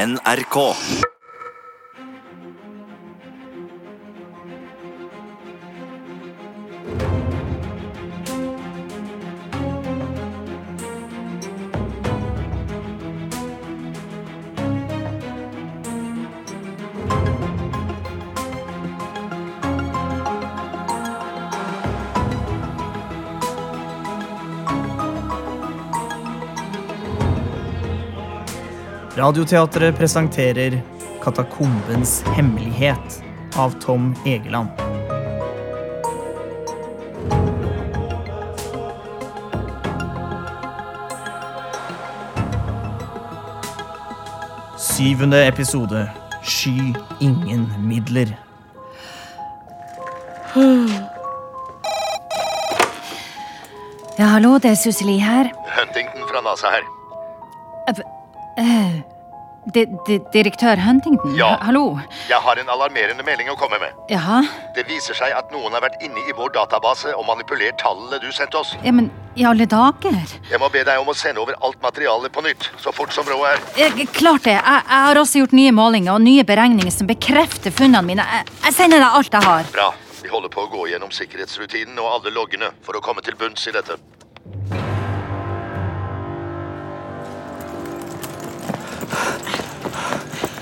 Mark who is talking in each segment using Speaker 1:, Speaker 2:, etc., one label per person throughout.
Speaker 1: NRK.
Speaker 2: Radioteatret presenterer Katakombens hemmelighet av Tom Egeland. Syvende episode Sky ingen midler.
Speaker 3: Ja, hallo, det er Suseli her. Eh,
Speaker 4: Huntington fra NASA her.
Speaker 3: Di- di- direktør Huntington?
Speaker 4: Ja.
Speaker 3: Ha- Hallo.
Speaker 4: Jeg har en alarmerende melding å komme med.
Speaker 3: Jaha.
Speaker 4: Det viser seg at noen har vært inne i vår database og manipulert tallene du sendte oss.
Speaker 3: Ja, men i alle dager.
Speaker 4: Jeg må be deg om å sende over alt materialet på nytt, så fort som råd er.
Speaker 3: Jeg, Eh, klart det. Jeg, jeg har også gjort nye målinger og nye beregninger som bekrefter funnene mine. Jeg, jeg sender deg alt jeg har.
Speaker 4: Bra. Vi holder på å gå gjennom sikkerhetsrutinen og alle loggene for å komme til bunns i dette.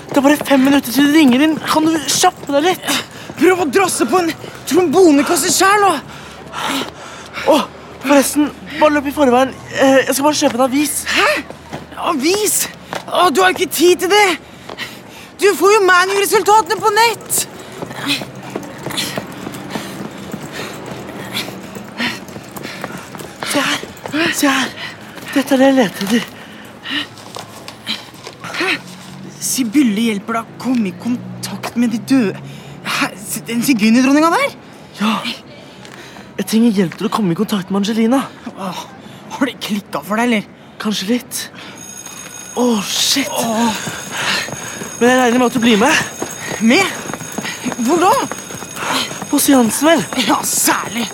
Speaker 5: Det er bare fem minutter til det ringer inn. Kan du kjappe deg litt? Prøv å drasse på en trombonekasse sjæl, nå! Å, forresten. Bare løp i forveien. Eh, Jeg skal bare kjøpe en avis. Hæ? Avis? Å, du har jo ikke tid til det! Du får jo ManU-resultatene på nett! Se her. Se her. Dette er det jeg leter etter. Sibylle hjelper deg å komme i kontakt med de døde Hæ? Den sigøynerdronninga der? Ja. Jeg trenger hjelp til å komme i kontakt med Angelina. har det klikka for deg, eller? Kanskje litt. Å, shit. Men jeg regner med at du blir med. Med? Hvor da? På seansen, vel. Ja, særlig.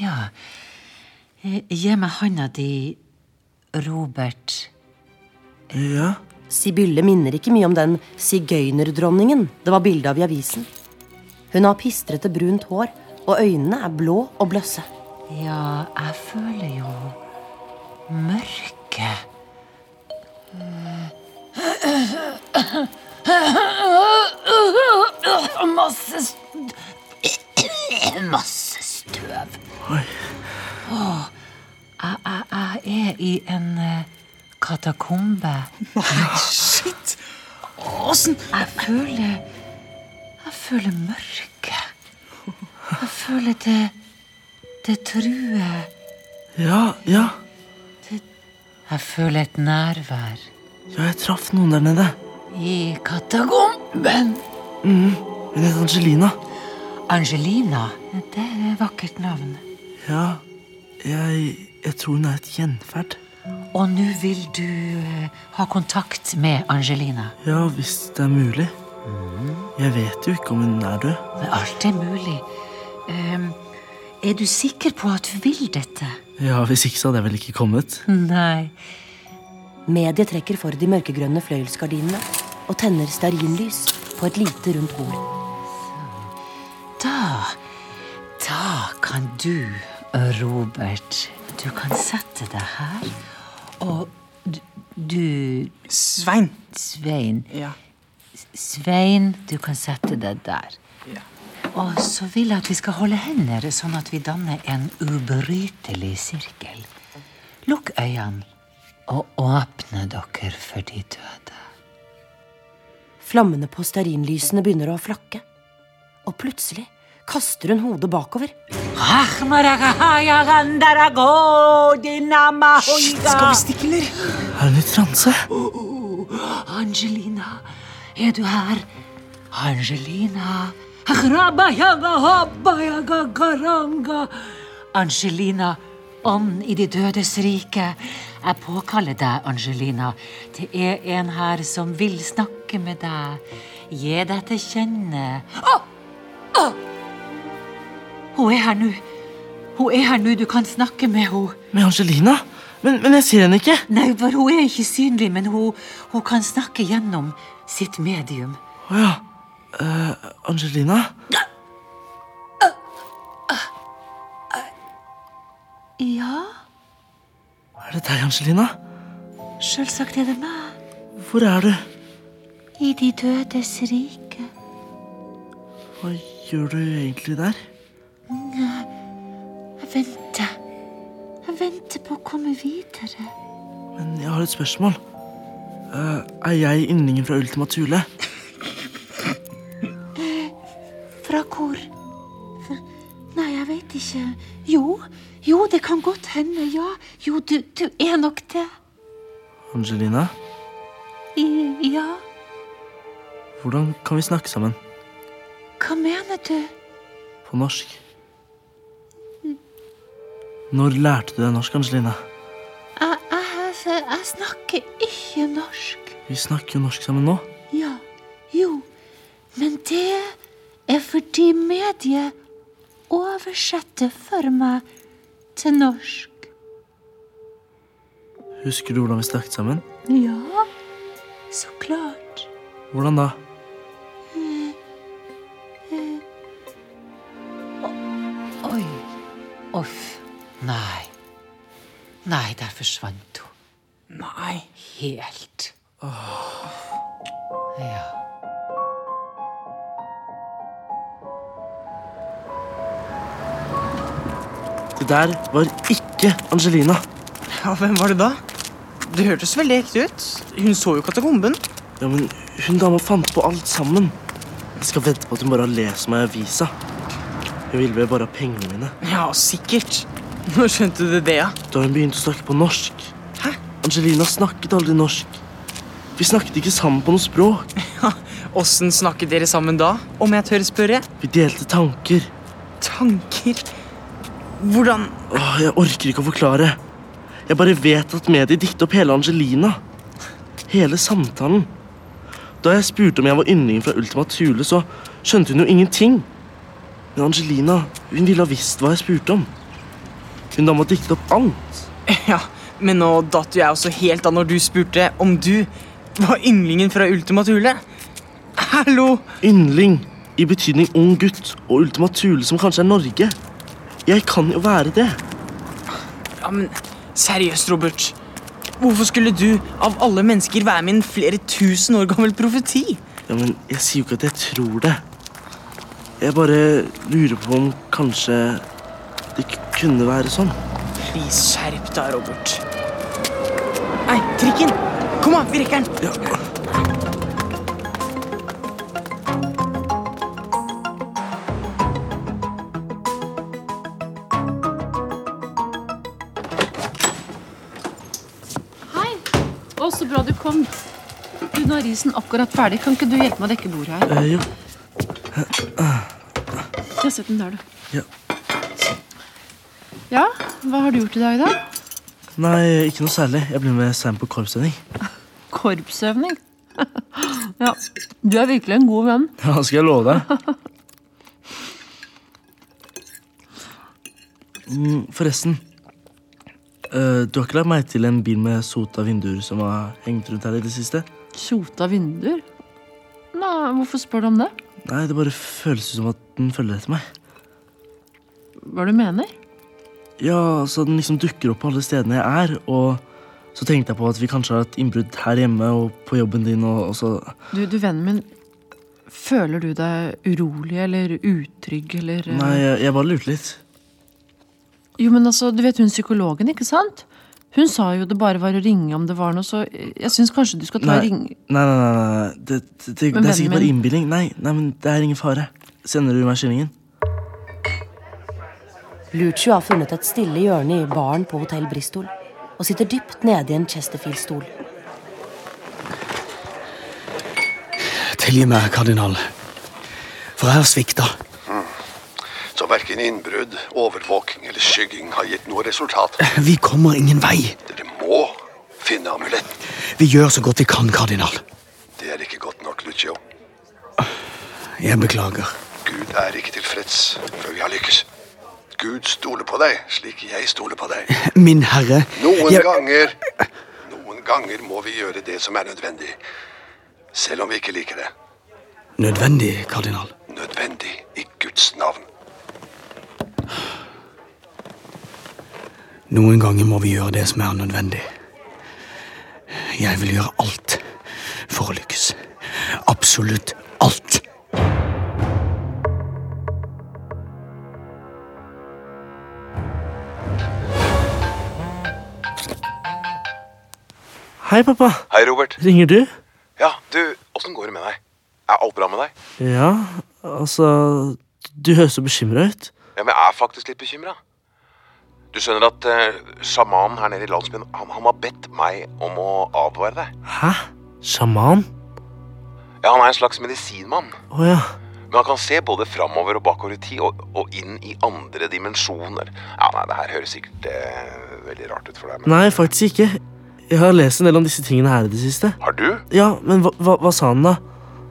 Speaker 6: Ja. Eh, Gi meg handa di, Robert.
Speaker 5: Ja.
Speaker 7: Sibylle minner ikke mye om den sigøynerdronningen det var bilde av i avisen. Hun har pistrete brunt hår, og øynene er blå og bløsse.
Speaker 6: Ja, jeg føler jo mørke. Masse st- Masse støv. Åh, jeg, jeg, jeg er i en eh, katakombe.
Speaker 5: Shit. Åssen
Speaker 6: Jeg føler Jeg føler mørket. Jeg føler det Det truer.
Speaker 5: Ja, ja.
Speaker 6: Jeg føler et nærvær
Speaker 5: Ja, jeg traff noen der nede.
Speaker 6: i katakomben.
Speaker 5: Mm. Hun het Angelina.
Speaker 6: Angelina. Det er et vakkert navn.
Speaker 5: Ja, jeg, jeg tror hun er et gjenferd.
Speaker 6: Og nå vil du eh, ha kontakt med Angelina.
Speaker 5: Ja, hvis det er mulig. Jeg vet jo ikke om hun er død.
Speaker 6: Men alt er mulig. Ehm, er du sikker på at du vil dette?
Speaker 5: Ja, Hvis ikke så hadde jeg vel ikke kommet.
Speaker 6: Nei.
Speaker 7: Mediet trekker for de mørkegrønne fløyelsgardinene og tenner stearinlys på et lite rundt bord.
Speaker 6: Da Da kan du, Robert Du kan sette deg her Og d- du,
Speaker 5: Svein.
Speaker 6: Svein
Speaker 5: Ja.
Speaker 6: Svein, du kan sette deg der Og så vil jeg at vi skal holde hender Sånn at vi danner en ubrytelig sirkel Lukk øynene Og åpne dere for de døde
Speaker 7: Flammene på stearinlysene begynner å flakke. Og plutselig kaster hun hodet bakover.
Speaker 5: Skal vi stikke, eller? Er hun i transe?
Speaker 6: Angelina, er du her? Angelina Rabajaga, habajaga, garanga. Angelina, ånd i de dødes rike. Jeg påkaller deg, Angelina. Det er en her som vil snakke med deg. Gi deg til kjenne. Å! Å! Ah! Hun er her nå. Hun er her nå, du kan snakke med henne.
Speaker 5: Med Angelina? Men, men jeg ser henne ikke.
Speaker 6: Nei, for hun er ikke synlig, men hun, hun kan snakke gjennom sitt medium.
Speaker 5: Å ja. Eh, Angelina?
Speaker 6: Ja,
Speaker 5: Er det deg, Angelina?
Speaker 6: selvsagt er det meg.
Speaker 5: Hvor er du?
Speaker 6: I de dødes rike.
Speaker 5: Hva gjør du egentlig der?
Speaker 6: Jeg venter. Jeg venter på å komme videre.
Speaker 5: Men jeg har et spørsmål. Eh, er jeg yndlingen fra Ultima Thule?
Speaker 6: Eh, Fra hvor? Fra- Nei, jeg vet ikke. Jo, jo, det kan godt hende, ja. Jo, du, du er nok det.
Speaker 5: Angelina,
Speaker 6: I, ja,
Speaker 5: hvordan kan vi snakke sammen?
Speaker 6: hva mener du?
Speaker 5: På norsk. Når lærte du deg norsk, Angelina?
Speaker 6: Jeg, jeg, jeg snakker ikke norsk.
Speaker 5: Vi snakker jo norsk sammen nå.
Speaker 6: Ja, jo, men det er fordi mediet oversetter for meg til norsk.
Speaker 5: Husker du hvordan vi snakket sammen?
Speaker 6: Ja, så klart.
Speaker 5: Hvordan da?
Speaker 6: Eh, Oi, uff, nei. Nei, der forsvant hun.
Speaker 5: Nei.
Speaker 6: Helt. Ja.
Speaker 5: Det der var ikke Angelina.
Speaker 1: Ja, Hvem var det da? Det hørtes veldig ekte ut. Hun så jo katakomben.
Speaker 5: Ja, men hun dama fant på alt sammen. Jeg skal vedde på at hun bare har lest meg i avisa. Hun ville vel bare ha pengene mine.
Speaker 1: Ja, sikkert. Når skjønte du det, ja?
Speaker 5: Da hun begynte å snakke på norsk.
Speaker 1: Hæ?
Speaker 5: Angelina snakket aldri norsk. Vi snakket ikke sammen på noe språk.
Speaker 1: Åssen snakket dere sammen da, om jeg tør spørre?
Speaker 5: Vi delte tanker.
Speaker 1: Tanker Hvordan
Speaker 5: Åh, jeg orker ikke å forklare. Jeg bare vet at mediet diktet opp hele Angelina. Hele samtalen. Da jeg spurte om jeg var yndlingen fra Ultima Thule, så skjønte hun jo ingenting. Men Angelina hun ville ha visst hva jeg spurte om. Hun dama diktet opp alt.
Speaker 1: Ja, men nå datt jo jeg også helt av når du spurte om du var ynglingen fra Ultima Thule. Hallo!
Speaker 5: Yndling i betydning ung gutt og Ultima Thule, som kanskje er Norge. Jeg kan jo være det.
Speaker 1: Ja, men seriøst, Robert. Hvorfor skulle du av alle mennesker være med i en flere tusen år gammel profeti?
Speaker 5: Ja, men jeg sier jo ikke at jeg tror det. Jeg bare lurer på om kanskje det k- kunne være sånn.
Speaker 1: Please, skjerp deg, Robert. Nei, trikken! Kom an, vi rekker den!
Speaker 8: Hei. Å, så bra du kom. Du, Nå er risen akkurat ferdig. Kan ikke du hjelpe meg å dekke bordet her?
Speaker 5: Eh, jo.
Speaker 8: Ja, sett den der, du.
Speaker 5: Ja.
Speaker 8: Ja, hva har du gjort i dag, da?
Speaker 5: Nei, ikke noe særlig. Jeg ble med Sam på korpsøving.
Speaker 8: Korpsøvning. ja, du er virkelig en god venn.
Speaker 5: Ja, skal jeg love deg. Mm, forresten. eh, du har ikke lagt meg til en bil med sota vinduer som har hengt rundt her i det siste?
Speaker 8: Sota vinduer. Nei, hvorfor spør du om det?
Speaker 5: Nei, det bare føles som at den følger etter meg.
Speaker 8: Hva du mener?
Speaker 5: Ja, så den liksom dukker opp på alle stedene jeg er, og så tenkte jeg på at vi kanskje har et innbrudd her hjemme og på jobben din, og, og så
Speaker 8: Du, du, vennen min. Føler du deg urolig eller utrygg eller eh,
Speaker 5: Nei, jeg, jeg bare lurte litt.
Speaker 8: Jo, men altså, du vet hun psykologen, ikke sant? Hun sa jo det bare var å ringe om det var noe, så eh, jeg syns kanskje du skal ta
Speaker 5: Nei,
Speaker 8: og
Speaker 5: nei,
Speaker 8: ringe
Speaker 5: nei, nei, nei. Det, det, det,
Speaker 8: Men
Speaker 5: det
Speaker 8: vennen
Speaker 5: er sikkert bare
Speaker 8: min-
Speaker 5: innbilning. Nei, nei, men det er ingen fare. Sender du meg skillingen?
Speaker 7: Lucio har funnet et stille hjørne i baren på Hotell Bristol og sitter dypt nede i en Chesterfield-stol.
Speaker 9: Tilgi meg, kardinal. For jeg har svikta.
Speaker 4: Hmm. Så verken innbrudd, overvåking eller skygging har gitt noe resultat.
Speaker 9: Vi kommer ingen vei.
Speaker 4: Dere må finne amuletten.
Speaker 9: Vi gjør så godt vi kan, kardinal.
Speaker 4: Det er ikke godt nok, Lucio.
Speaker 9: Jeg beklager.
Speaker 4: Gud er ikke tilfreds før vi har lykkes. Gud stole på deg, slik jeg stoler på deg.
Speaker 9: Min herre,
Speaker 4: Noen
Speaker 9: jeg,
Speaker 4: ganger Noen ganger må vi gjøre det som er nødvendig. Selv om vi ikke liker det.
Speaker 9: nødvendig, kardinal.
Speaker 4: Nødvendig i Guds navn.
Speaker 9: Noen ganger må vi gjøre det som er nødvendig. Jeg vil gjøre alt for å lykkes. Absolutt alt.
Speaker 5: Hei, pappa.
Speaker 10: Hei, Robert.
Speaker 5: Ringer du?
Speaker 10: Ja, du, åssen går det med deg? Er alt bra med deg?
Speaker 5: Ja, altså Du høres så bekymra ut.
Speaker 10: Ja, men jeg er faktisk litt bekymra. Du skjønner at eh, sjamanen her nede i landsbyen, han, han har bedt meg om å advare deg.
Speaker 5: Hæ? Sjaman?
Speaker 10: Ja, han er en slags medisinmann.
Speaker 5: Å ja.
Speaker 10: Men han kan se både framover og bakover i tid, og, og inn i andre dimensjoner. Ja, nei, det her høres sikkert eh, veldig rart ut for deg, men
Speaker 5: Nei, faktisk ikke. Jeg har lest en del om disse tingene her i det siste.
Speaker 10: Har du?
Speaker 5: Ja, men hva, hva, hva sa han, da?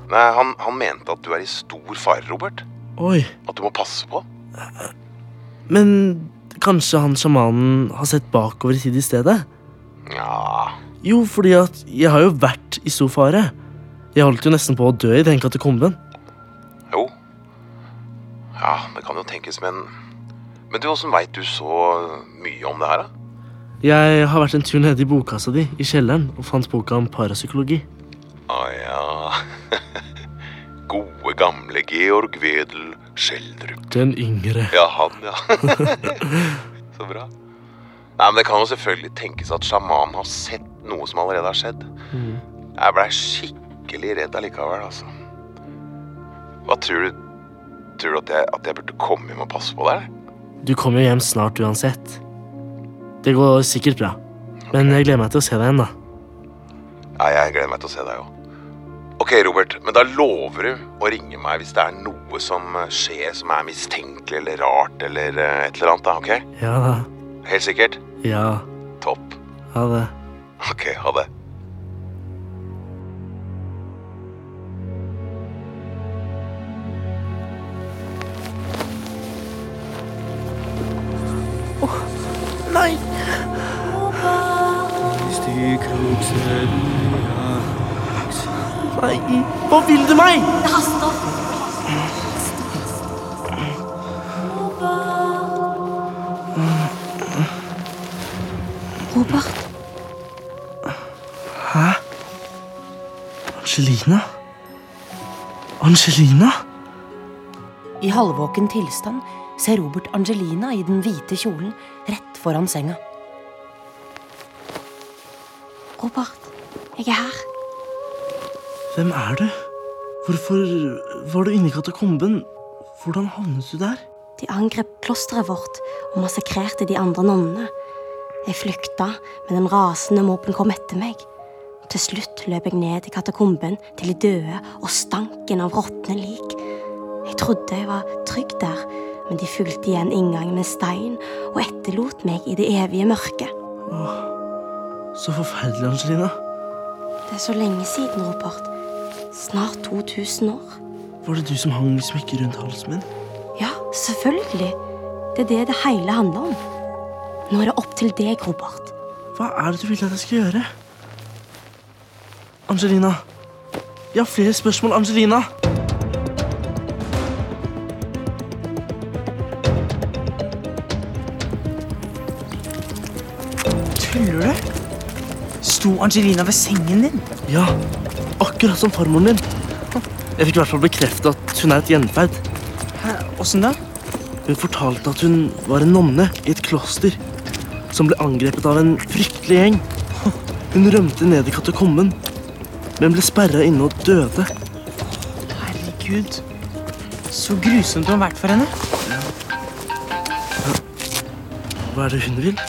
Speaker 10: Nei, han, han mente at du er i stor fare, Robert.
Speaker 5: Oi.
Speaker 10: At du må passe på.
Speaker 5: Men kanskje han sjamanen har sett bakover i tid i stedet?
Speaker 10: Ja
Speaker 5: Jo, fordi at jeg har jo vært i stor fare. Jeg holdt jo nesten på å dø i den katakomben.
Speaker 10: Jo. Ja, det kan jo tenkes, men Men du, åssen veit du så mye om det her, da?
Speaker 5: Jeg har vært en tur nede i bokkassa di i kjelleren og fant boka om parapsykologi.
Speaker 10: Å Ah, ja. Gode gamle Georg Wedel Schjelderup.
Speaker 5: Den yngre.
Speaker 10: Ja, han, ja. så bra. Nei, men Det kan jo selvfølgelig tenkes at sjamanen har sett noe som allerede har skjedd. Jeg blei skikkelig redd allikevel, altså. Hva tror du Tror du at jeg, at jeg burde komme hjem og passe på deg? eller?
Speaker 5: Du kommer jo hjem snart uansett. Det går sikkert bra. Men jeg gleder meg til å se deg igjen, da.
Speaker 10: Nei, jeg gleder meg til å se deg òg. Ok, Robert, men da lover du å ringe meg hvis det er noe som eh, skjer som er mistenkelig eller rart eller eh, et eller annet, da, ok?
Speaker 5: Ja da.
Speaker 10: Helt sikkert?
Speaker 5: Ja.
Speaker 10: Topp.
Speaker 5: Ha det.
Speaker 10: Ok, ha det.
Speaker 5: Nei, hva vil du meg?
Speaker 3: Robert,
Speaker 5: Angelina? Angelina?
Speaker 7: I halvvåken tilstand ser Robert Angelina i den hvite kjolen rett foran senga.
Speaker 3: Robert, jeg er her.
Speaker 5: Hvem er du? Hvorfor var du inne i katakomben? Hvordan havnet du der?
Speaker 3: De angrep klosteret vårt og massakrerte de andre nonnene. Jeg flykta, men den rasende mopen kom etter meg. Til slutt løp jeg ned i katakomben til de døde og stanken av råtne lik. Jeg trodde jeg var trygg der, men de fulgte igjen inngangen med stein og etterlot meg i det evige mørket.
Speaker 5: Så forferdelig, Angelina.
Speaker 3: Det er så lenge siden, Robert. Snart 2000 år.
Speaker 5: Var det du som hang smykket rundt halsen min?
Speaker 3: Ja, selvfølgelig. Det er det det hele handler om. Nå er det opp til deg, Robert.
Speaker 5: Hva er det du vil at jeg skal gjøre? Angelina. Jeg har flere spørsmål, Angelina.
Speaker 1: Tuller du? Sto Angelina ved sengen din?
Speaker 5: Ja, akkurat som farmoren din. Jeg fikk i hvert fall bekreftet at hun er et gjenferd.
Speaker 1: Hæ, Åssen da?
Speaker 5: Hun fortalte at hun var en nonne i et kloster som ble angrepet av en fryktelig gjeng. Hun rømte ned i katakomben, men ble sperra inne og døde.
Speaker 1: Herregud. Så grusomt det må ha vært for henne.
Speaker 5: Hva er det hun vil?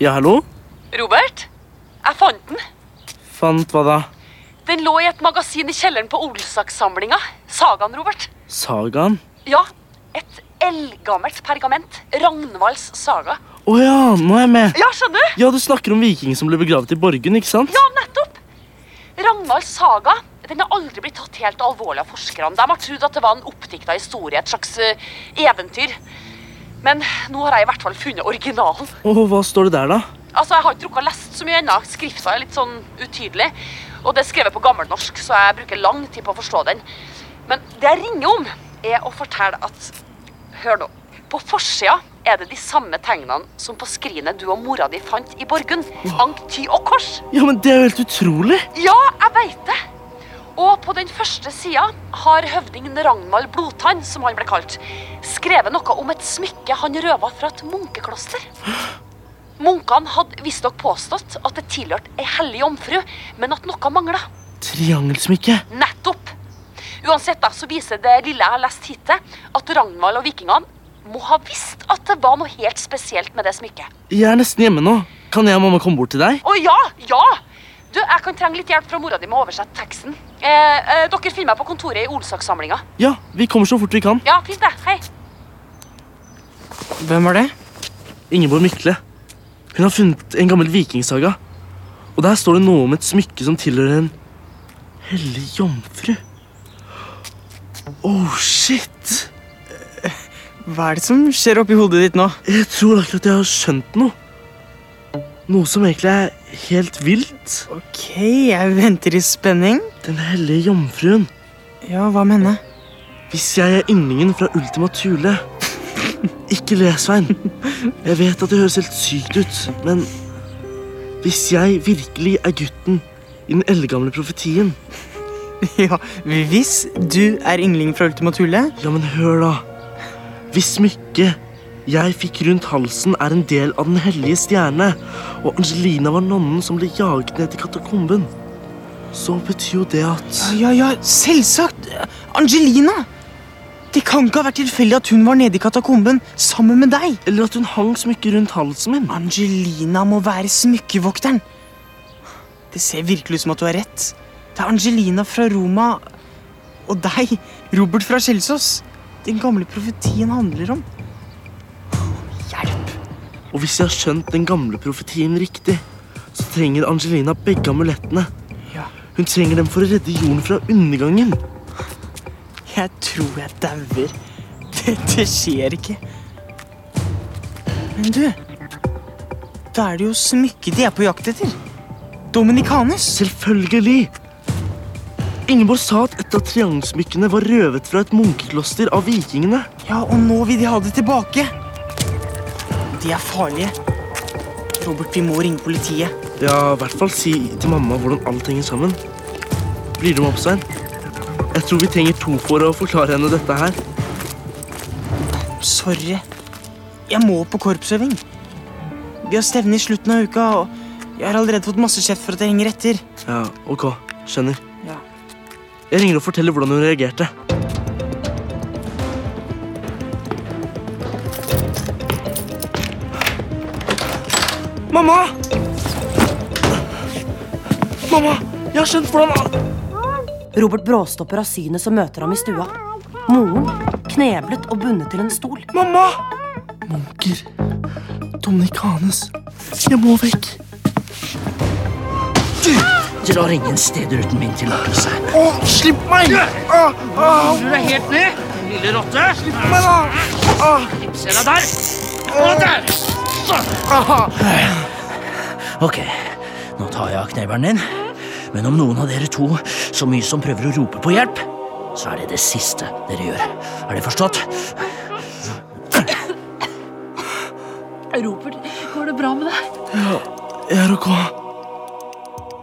Speaker 5: Ja, hallo?
Speaker 11: Robert, jeg fant den.
Speaker 5: Fant hva da?
Speaker 11: Den lå i et magasin i kjelleren på Olsak-samlinga. Sagaen, Robert.
Speaker 5: Sagaen?
Speaker 11: Ja, et eldgammelt pergament. Ragnvalds saga.
Speaker 5: Å ja, nå er jeg med!
Speaker 11: Ja, skjønner du?
Speaker 5: Ja, du snakker om vikingene som ble begravet i Borgen, ikke sant?
Speaker 11: Ja, nettopp. Ragnvalds saga den har aldri blitt tatt helt alvorlig av forskerne. De har trodd at det var en oppdikta historie, et slags eh, eventyr. Men nå har jeg i hvert fall funnet originalen.
Speaker 5: Og hva står det der, da?
Speaker 11: Altså, Jeg har ikke rukket å lest så mye ennå. Skrifta er litt sånn utydelig. Og det er skrevet på gammelnorsk, så jeg bruker lang tid på å forstå den. Men det jeg ringer om, er å fortelle at Hør nå. På forsida er det de samme tegnene som på skrinet du og mora di fant i Borgund. Ank, ty og kors.
Speaker 5: Ja, men Det er jo helt utrolig!
Speaker 11: Ja, jeg veit det. Og på den første sida har høvdingen Ragnvald Blodtann, som han ble kalt, skrevet noe om et smykke han røva fra et munkekloster. Munkene hadde visstnok påstått at det tilhørte ei hellig jomfru, men at noe mangla.
Speaker 5: Triangelsmykke.
Speaker 11: Nettopp! Uansett da, så viser det lille jeg har lest hittil, at Ragnvald og vikingene må ha visst at det var noe helt spesielt med det smykket.
Speaker 5: Jeg er nesten hjemme nå. Kan jeg og mamma komme bort til deg?
Speaker 11: Å ja, ja! Du, Jeg kan trenge litt hjelp fra mora di med å oversette teksten. Eh, eh, dere finner meg på kontoret i Olsaksamlinga.
Speaker 5: Ja, vi kommer så fort vi kan.
Speaker 11: Ja, fint det. Hei.
Speaker 5: Hvem var det? Ingeborg Mykle. Hun har funnet en gammel vikingsaga. Og der står det noe om et smykke som tilhører en hellig jomfru. Oh, shit! Hva er det som skjer oppi hodet ditt nå? Jeg tror akkurat jeg har skjønt noe. Noe som egentlig er helt vilt. Ok, jeg venter i spenning. Den hellige jomfruen. Ja, hva med henne? Hvis jeg er yndlingen fra Ultima Thule Ikke le, Svein. Jeg vet at det høres helt sykt ut, men hvis jeg virkelig er gutten i den eldgamle profetien Ja, hvis du er yngling fra Ultima Thule Ja, men hør, da. Hvis smykket jeg fikk rundt halsen, er en del av Den hellige stjerne, og Angelina var nonnen som ble jaget ned til katakomben, så betyr jo det at
Speaker 1: Ja, ja, selvsagt. Angelina! Det kan ikke ha vært tilfeldig at hun var nede i katakomben sammen med deg.
Speaker 5: Eller at hun hang smykket rundt halsen min.
Speaker 1: Angelina må være smykkevokteren. Det ser virkelig ut som at du har rett. Det er Angelina fra Roma og deg, Robert fra Kjelsås. Den gamle profetien handler om.
Speaker 5: Og hvis jeg har skjønt den gamle profetien riktig, så trenger Angelina begge amulettene. Hun trenger dem for å redde jorden fra undergangen.
Speaker 1: Jeg tror jeg dauer. Dette skjer ikke. Men du Da er det jo smykket de er på jakt etter. Dominikanus.
Speaker 5: Selvfølgelig. Ingeborg sa at et av triangelsmykkene var røvet fra et munkekloster av vikingene.
Speaker 1: Ja, og nå vil de ha det tilbake. De er farlige. Robert, vi må ringe politiet.
Speaker 5: Ja, i hvert fall si til mamma hvordan alt henger sammen. Blir du med opp, Svein? Jeg tror vi trenger to for å forklare henne dette her.
Speaker 1: Sorry. Jeg må på korpsøving. Vi har stevne i slutten av uka, og jeg har allerede fått masse kjeft for at jeg henger etter.
Speaker 5: Ja, ok. Skjønner.
Speaker 1: Ja.
Speaker 5: Jeg ringer og forteller hvordan hun reagerte. Mamma! Mamma, jeg har skjønt hvordan
Speaker 7: Robert bråstopper av synet som møter ham i stua. Moren, kneblet og bundet til en stol.
Speaker 5: Mamma! Munker. Dominikanes. Jeg må vekk.
Speaker 9: Drar ingen steder uten min tillatelse.
Speaker 5: Å, slipp meg! Ah, ah.
Speaker 9: Du er helt ned, din lille rotte. Slipp
Speaker 5: meg, da! Ah.
Speaker 9: Se deg der. Og der. Ok, nå tar jeg av knebelen din. Men om noen av dere to så mye som prøver å rope på hjelp, så er det det siste dere gjør. Er det forstått?
Speaker 8: Robert, går det bra med deg?
Speaker 5: Jeg er ok.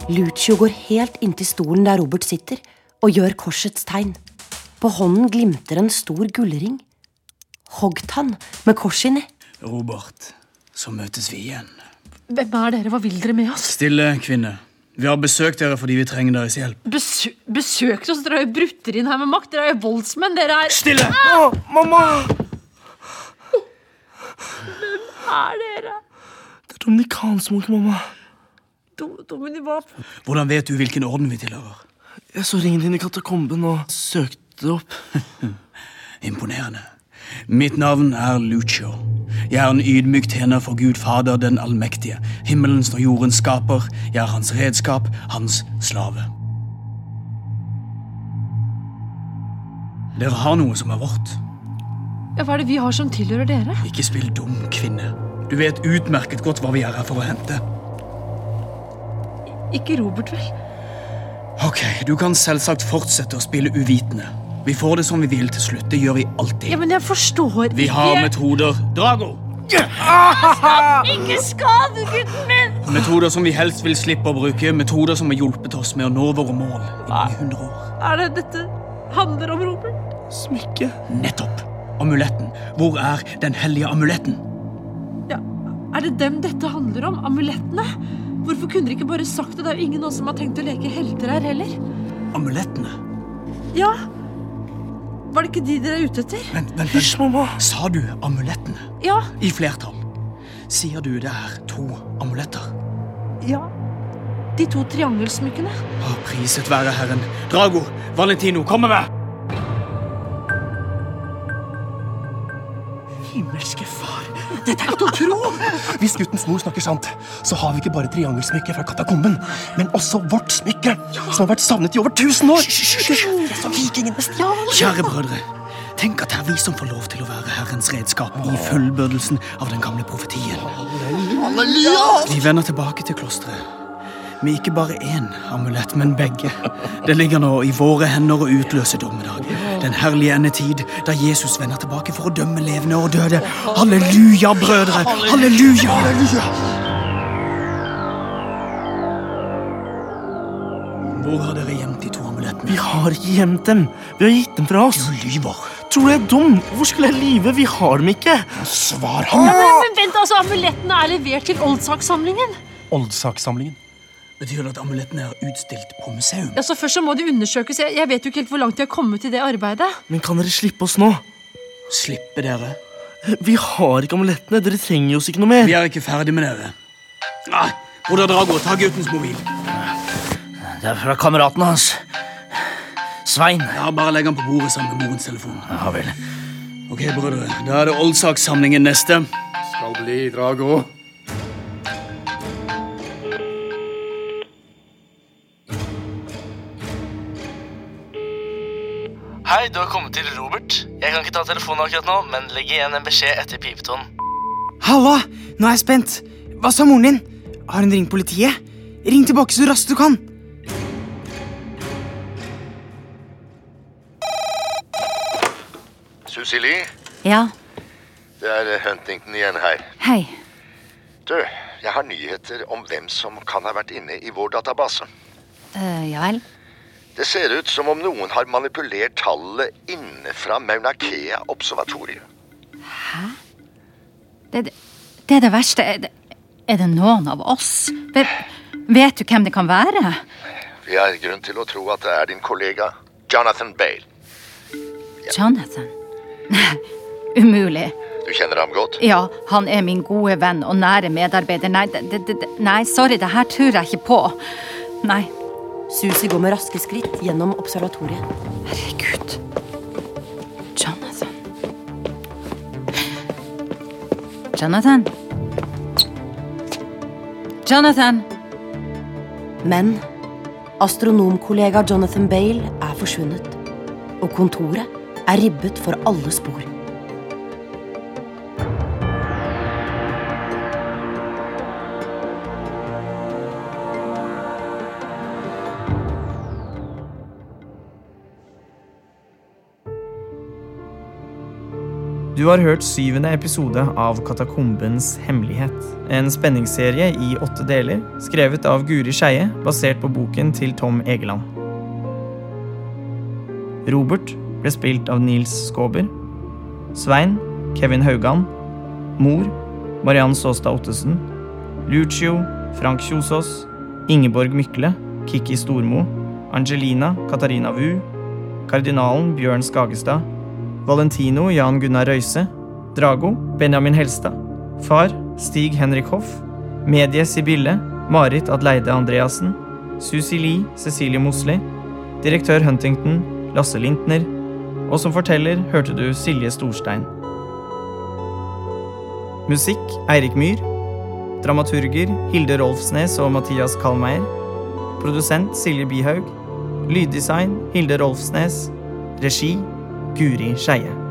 Speaker 7: Lucio går helt inntil stolen der Robert sitter, og gjør korsets tegn. På hånden glimter en stor gullring. Hoggtann med kors inni.
Speaker 12: Robert, så møtes vi igjen.
Speaker 8: Hvem er dere? Hva vil dere med oss?
Speaker 12: Stille, kvinne. Vi har besøkt dere fordi vi trenger deres hjelp.
Speaker 8: Besø besøkte oss? Dere har jo brutt dere inn her med makt. Dere er jo voldsmenn. Dere er
Speaker 12: Stille!
Speaker 8: Ah!
Speaker 5: mamma!
Speaker 8: Hvem er dere?
Speaker 5: Det er dominikansk munke, mamma.
Speaker 8: Do Domini, hva
Speaker 12: Hvordan vet du hvilken orden vi tilhører?
Speaker 5: Jeg så ringen din i katakomben og søkte det opp.
Speaker 12: Imponerende. Mitt navn er Lucio. Jeg er en ydmyk tjener for Gud Fader den allmektige, himmelens og jordens skaper. Jeg er hans redskap, hans slave. Dere har noe som er vårt.
Speaker 8: Ja, Hva er det vi har som tilhører dere?
Speaker 12: Ikke spill dum, kvinne. Du vet utmerket godt hva vi er her for å hente.
Speaker 8: Ikke Robert, vel?
Speaker 12: Ok, Du kan selvsagt fortsette å spille uvitende. Vi får det som vi vil til slutt. Det gjør vi alltid.
Speaker 8: Ja, men jeg forstår
Speaker 12: Vi har metoder Drago!
Speaker 6: Ikke skade gutten min!
Speaker 12: Metoder som vi helst vil slippe å bruke. Metoder som har hjulpet oss med å nå våre mål. i 100 år.
Speaker 8: Er det dette handler om, Robert?
Speaker 12: Smykke? Nettopp. Amuletten. Hvor er den hellige amuletten?
Speaker 8: Ja, Er det dem dette handler om? Amulettene? Hvorfor kunne dere ikke bare sagt det? Det er jo ingen av oss som har tenkt å leke helter her heller.
Speaker 12: Amulettene?
Speaker 8: Ja. Var det ikke de dere er ute etter?
Speaker 12: Vent, vent, vent. Sa du amulettene?
Speaker 8: Ja.
Speaker 12: I flertall. Sier du det er to amuletter?
Speaker 8: Ja. De to triangelsmykkene.
Speaker 12: Å, priset være Herren. Drago, Valentino, kom med meg!
Speaker 13: Himmelske far, dette er ikke til å tro! Hvis guttens mor snakker sant, så har vi ikke bare triangelsmykket fra katakomben, men også vårt smykke, som har vært savnet i over 1000 år! Det er som vikingene stjal!
Speaker 12: Kjære brødre, tenk at det er vi som får lov til å være Herrens redskap i fullbyrdelsen av den gamle profetien. Vi vender tilbake til klosteret. Med ikke bare én amulett, men begge. Det ligger nå i våre hender å utløse dommedag. Den herlige endetid, da Jesus vender tilbake for å dømme levende og døde. Halleluja, brødre! Halleluja! Hvor har dere gjemt de to amulettene?
Speaker 13: Vi har ikke gjemt dem. Vi har gitt dem fra oss. Du lyver. Tror du jeg er dum? Hvorfor skulle jeg lyve? Vi har dem ikke. Svar
Speaker 8: Ja,
Speaker 13: ham!
Speaker 8: men, men vent, altså, Amulettene er levert til Oldsak-samlingen.
Speaker 13: Oldsakssamlingen.
Speaker 12: Betyr det at amulettene er utstilt på museum?
Speaker 8: Altså, først så må de undersøkes. Jeg, jeg vet jo ikke helt hvor langt de har kommet i det arbeidet.
Speaker 13: Men kan dere slippe oss nå?
Speaker 12: Slippe dere?
Speaker 13: Vi har ikke amulettene. Dere trenger oss ikke noe mer.
Speaker 12: Vi er ikke ferdig med dere. Ah, Nei, Broder Drago, ta guttens mobil.
Speaker 9: Det er fra kameraten hans. Svein.
Speaker 12: Ja, Bare legg den på bordet sammen med morens telefon.
Speaker 9: Ja vel.
Speaker 12: Ok, brødre. Da er det oldsakssamlingen neste.
Speaker 14: Skal bli, Drago.
Speaker 15: Hei, du har kommet til Robert. Jeg kan ikke ta telefonen akkurat nå, men legg igjen en beskjed etter pipetonen.
Speaker 1: Halla! Nå er jeg spent. Hva sa moren din? Har hun ringt politiet? Ring tilbake så raskt du kan.
Speaker 4: Susi Lee,
Speaker 16: Ja,
Speaker 4: det er Huntington igjen her.
Speaker 16: hei.
Speaker 4: Du, jeg har nyheter om hvem som kan ha vært inne i vår database.
Speaker 16: Eh, ja vel.
Speaker 4: Det ser ut som om noen har manipulert tallene inne fra Mauna Kea observatorium.
Speaker 16: Hæ? Det, det- det er det verste. Er det, er det noen av oss? Ve- vet du hvem det kan være?
Speaker 4: Vi har grunn til å tro at det er din kollega Jonathan Bale.
Speaker 16: Jonathan? Nei, umulig.
Speaker 4: Du kjenner ham godt?
Speaker 16: Ja, han er min gode venn og nære medarbeider. Nei, det, det, det, nei sorry, det her tror jeg ikke på. Nei.
Speaker 7: Susi går med raske skritt gjennom observatoriet.
Speaker 16: Herregud. Jonathan. Jonathan. Jonathan!
Speaker 7: Men astronomkollega Jonathan Bale er forsvunnet. Og kontoret er ribbet for alle spor.
Speaker 2: Du har hørt syvende episode av Katakombens hemmelighet. En spenningsserie i åtte deler, skrevet av Guri Skeie, basert på boken til Tom Egeland. Robert ble spilt av Nils Skåber. Svein Kevin Haugan. Mor Mariann Saastad Ottesen. Lucio Frank Kjosås. Ingeborg Mykle Kikki Stormo. Angelina Katarina Wu. Kardinalen Bjørn Skagestad. Valentino Jan Gunnar Røise. Drago Benjamin Helstad. Far Stig Henrik Hoff. Medie Sibylle Marit Adleide Andreassen. Susi Lie Cecilie Mosli. Direktør Huntington Lasse Lintner. Og som forteller hørte du Silje Storstein. Musikk Eirik Myhr. Dramaturger Hilde Rolfsnes og Mathias Kallmeier. Produsent Silje Bihaug. Lyddesign Hilde Rolfsnes. Regi Guri Skeie.